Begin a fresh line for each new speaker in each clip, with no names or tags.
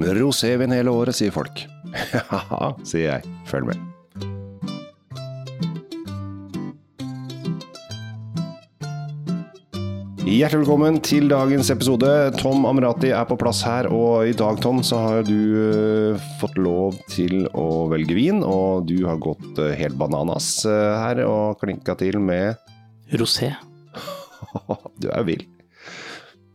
Rosévin hele året, sier folk. Ja, sier jeg. Følg med. Hjertelig velkommen til dagens episode. Tom Amrati er på plass her, og i dag, Tom, så har du eh, fått lov til å velge vin, og du har gått eh, helt bananas eh, her og klinka til med
Rosé.
Du er vill.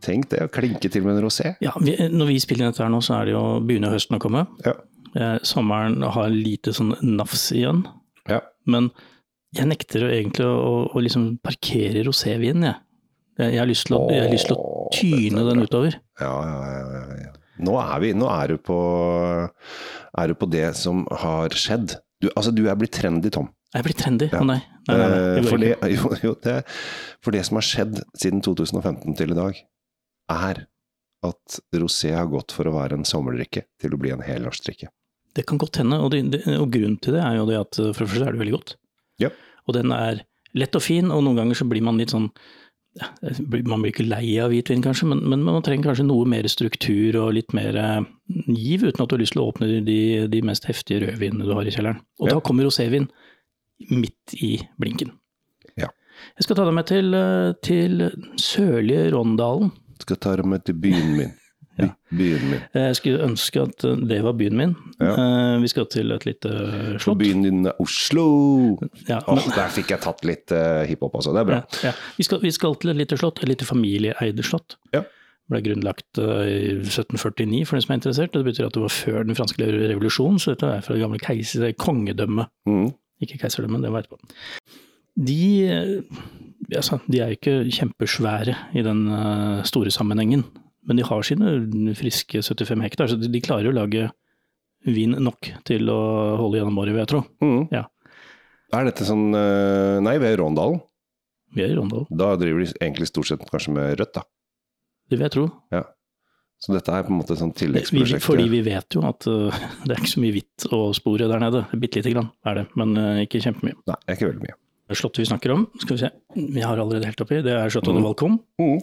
Tenk det, å klinke til med en rosé.
Ja, vi, når vi spiller inn dette her nå, så er det jo begynner høsten å komme.
Ja.
Eh, sommeren har lite sånn nafs igjen.
Ja.
Men jeg nekter jo egentlig å, å, å liksom parkere rosévin, jeg. Jeg, jeg, har lyst til å, jeg har lyst til å
Åh, dette
tyne
er
den
bra.
utover.
Ja, ja, ja, ja, ja. Nå er vi Nå er du på Er du på det som har skjedd. Du, altså, du er blitt trendy, Tom.
Jeg blir trendy.
Ja.
Å nei. nei, nei, nei.
Eh,
det går
for,
ikke.
det, jo, jo, det, for det som har skjedd siden 2015 til i dag, er at rosé har gått for å være en sommerdrikke til å bli en helårsdrikke.
Det kan godt hende, og, det, det, og grunnen til det er jo det at eh, for det første er det veldig godt.
Ja.
Og den er lett og fin, og noen ganger så blir man litt sånn ja, blir- Man blir ikke lei av hvitvin kanskje, men, men man trenger kanskje noe mer struktur og litt mer eh, giv, uten at du har lyst til å åpne de- de, de mest heftige rødvinene du har i kjelleren. Og
Ja.
da kommer rosévin midt i blinken.
Ja.
Jeg skal ta deg med til, eh, til sørlige Rondalen.
Skal ta dem med til byen min. By,
Ja.
Byen min.
Jeg skulle ønske at eh, det var byen min. Eh, Vi skal til et lite eh,
For
slott.
byen din er Oslo!
Ja,
Åh, der fikk jeg tatt litt eh, hiphop også. Det er bra.
Ja, ja. Vi, skal, vi skal til et lite slott, et lite familieeide slott.
Ja.
Ble grunnlagt eh, i 1749 for den som er interessert. og Det betyr at det var før den franske revolusjonen, så dette er fra det gamle keiser, kongedømmet.
Mm.
Ikke keiserdømmet, det var etterpå. De, eh, altså, de er jo ikke kjempesvære i den eh, store sammenhengen, men de har sine friske 75 hektar, så de, de klarer å lage vin nok til å holde gjennom året, vil jeg tro.
Mm.
Ja.
Er dette sånn eh, Nei, vi er i Råndalen.
Vi er i Rondal,
Da driver de egentlig stort sett kanskje med rødt, da.
det vil jeg tro.
Så dette er på en måte et sånt
Vi,
tilleggsprosjekt.
fordi vi vet jo at uh, det er ikke så mye hvitt å spore der nede. Bitte lite grann er det, men uh, ikke kjempemye.
Nei, det er ikke veldig mye.
Slottet vi snakker om, skal vi se, vi har allerede helt oppi, det er Slottet
Mm.
de Valcom.
Mm.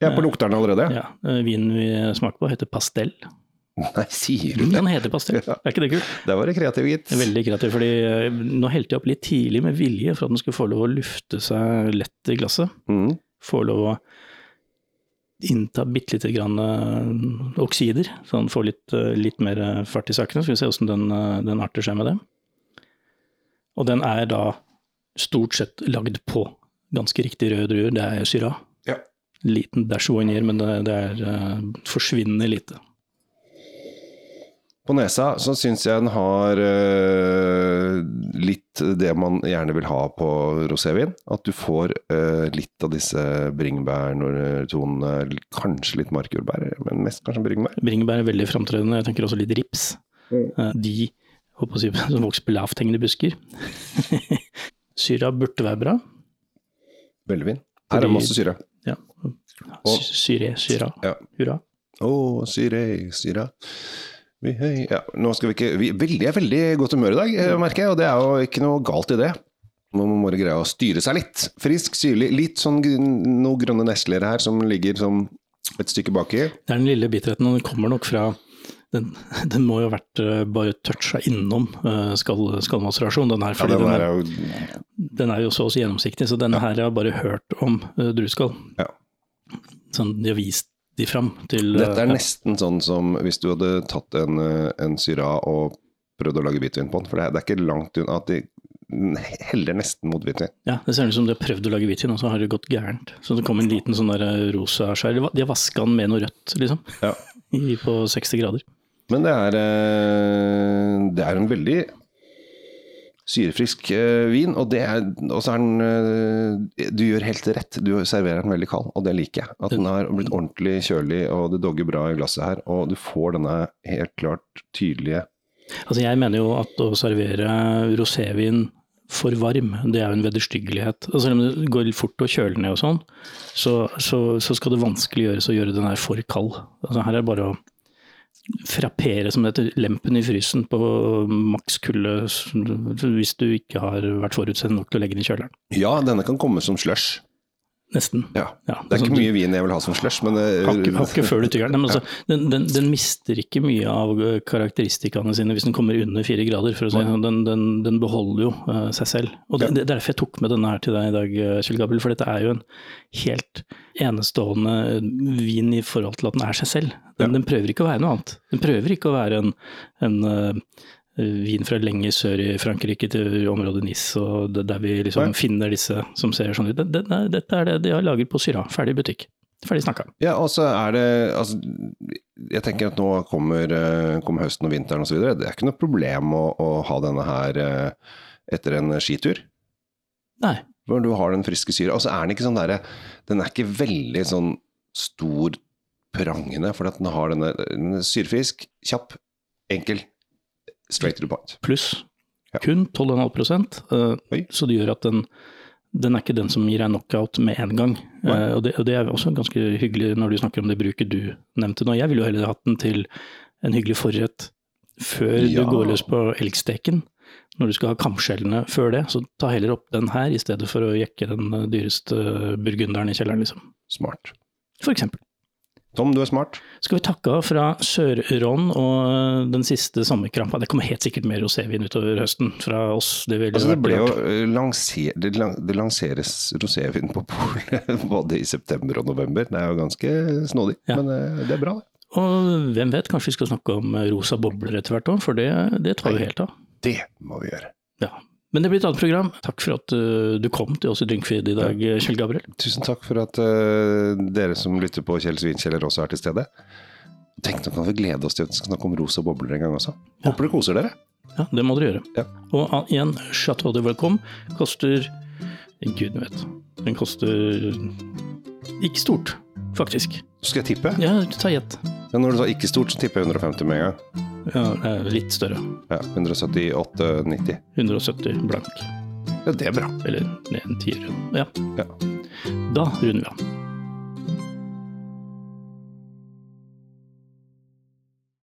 Jeg er på lukteren allerede.
Ja, uh, vinen vi smaker på heter Pastell.
Nei, sier du det?
Den heter Pastell,
Ja.
er ikke det kult?
Der var det kreativ, gitt.
Veldig kreativ, fordi uh, nå helte jeg opp litt tidlig med vilje for at den skulle få lov å lufte seg lett i glasset.
Mm.
Få lov å innta bitte lite grann uh, oksider, så den får litt, uh, litt mer uh, fart i sakene. Skal vi se hvordan den, uh, den arter seg med det. Og den er da stort sett lagd på ganske riktig røde druer. Det er syra.
Ja.
Liten dash winer, men det, det er uh, forsvinnende lite.
På nesa så syns jeg den har eh, litt det man gjerne vil ha på rosévin. At du får eh, litt av disse bringebærtonene, kanskje litt markjordbær, men mest kanskje bringebær.
Bringebær er veldig framtredende. Jeg tenker også litt rips. Eh, De håper å si, som vokser på lavthengende busker. syra burde være bra.
Velvin. Her er det masse syre.
Ja.
Og-
Sy- Syre, syra,
Ja.
hurra.
Å, syre, syre. Vi, hei. Ja, nå skal vi ikke vi, veldig, Jeg er veldig i godt humør i dag, eh, merker jeg, og det er jo ikke noe galt i det. Man må bare greie å styre seg litt. Frisk, syrlig, litt sånn gr- noen grønne nesler her som ligger som et stykke baki.
Det er den lille bitterheten, og den kommer nok fra den, den må jo ha vært eh, bare toucha innom eh, skall, skallmaserasjon, den her.
Ja,
Fordi
den
den,
er
er,
jo
den er jo så å si gjennomsiktig, så denne her har jeg bare hørt om eh, drueskall.
Ja.
Sånn, de har vist de fram til eh,
Dette er nesten sånn som hvis du hadde tatt en, eh, en syra og prøvd å lage hvitvin på den, for det er, det er ikke langt unna at de heller nesten mot hvitvin.
Ja, det ser ut som de har prøvd å lage hvitvin, og så har det gått gærent. Så det kom en liten sånn der eh, rosa skjær. De va- De har vaska den med noe rødt, liksom.
Ja.
I, på 60 grader.
Men det er, eh, det er en veldig syrefrisk eh, vin, og det er, og så er den eh, Du gjør helt rett, du serverer den veldig kald, og det liker jeg. At den har blitt ordentlig kjølig, og det dogger bra i glasset her. Og du får denne helt klart tydelige
Altså, jeg mener jo at å servere rosévin for varm, det er jo en vederstyggelighet. Og selv om det går litt fort å kjøle ned og sånn, så, så, så skal det vanskelig gjøres å gjøre den her for kald. Altså, her er det bare å frappere som det heter, lempen i frysen på maks kulde s- hvis du ikke har vært forutsett nok til å legge den i kjøleren.
Ja, denne kan komme som slush.
Nesten.
Ja.
Ja.
Det er
Altså,
ikke mye vin jeg vil ha som slush, men eh, det-
Har ikke, har ikke før du tygger den. Men altså, den, den, den mister ikke mye av eh, karakteristikkene sine hvis den kommer under fire grader. For å si. det sånn. den, den, den beholder jo eh, seg selv. Og det, det er derfor jeg tok med denne her til deg i dag, eh, Kjell Gabel. For dette er jo en helt enestående eh, vin i forhold til at den er seg selv. Den, den prøver ikke å være noe annet. Den prøver ikke å være en, en eh, Vin fra lenger sør i Frankrike til området Nice, og det, der vi liksom
Nei.
finner disse som ser sånn ut. Det- det- nei, Dette er det de har laget på Syra. Ferdig butikk. Ferdig snakka.
Ja, og så er det altså, Jeg tenker at nå kommer, eh, kommer høsten og vinteren osv. Det er ikke noe problem å, å ha denne her eh, etter en skitur.
Nei.
Hvor du har den friske syra. Og så er den ikke sånn derre Den er ikke veldig sånn stor prangende, for at den har denne den er syrefrisk, kjapp, enkel, straight to the point.
pluss.
Ja.
Kun 12,5 eh,
Oi.
Så det gjør at den, den er ikke den som gir deg knockout med en gang. Eh,
Nei.
og, det, og det er også ganske hyggelig når du snakker om det bruket du nevnte nå. Jeg ville jo heller hatt den til en hyggelig forrett før
Ja.
du går løs på elgsteken. Når du skal ha kamskjellene før det, så ta heller opp den her i stedet for å jekke den eh, dyreste burgunderen i kjelleren, liksom.
Smart.
For eksempel.
Tom, du er smart.
Skal vi takke av fra Sør-Ron og eh, den siste sommerkrampa? Det kommer helt sikkert mer rosévin utover høsten fra oss. Det, ville
Altså, det
vært
ble jo
rart.
eh, lanser, det, lan, det lanseres rosévin på polet både i september og november. Det er jo ganske snodig,
Ja.
men eh, det er bra, det.
Og hvem vet, kanskje vi skal snakke om eh, rosa bobler etter hvert òg, for det, det tar jo helt av.
Det må vi gjøre.
Ja. Men det blir et annet program. Takk for at uh, du kom til oss i Drinkfeed i dag, Kjell Gabriel.
Tusen takk for at eh, dere som lytter på Kjell Svinkjeller også er til stede. Tenk nå kan vi glede oss til at vi skal snakke om rosa bobler en gang også.
Ja.
Håper dere koser dere.
Ja, det må dere gjøre.
Ja.
Og uh, igjen, Chateau de Welcome koster Gud vet. Den koster ikke stort, faktisk.
Så skal jeg tippe.
Ja, ta gjett.
Men når du sa ikke stort, så tipper jeg 150 med en gang.
Ja, eh, litt større.
Ja, 178,90.
170 blank.
Ja, det er bra.
Eller ned en tier. Ja.
Ja.
Da runder vi av.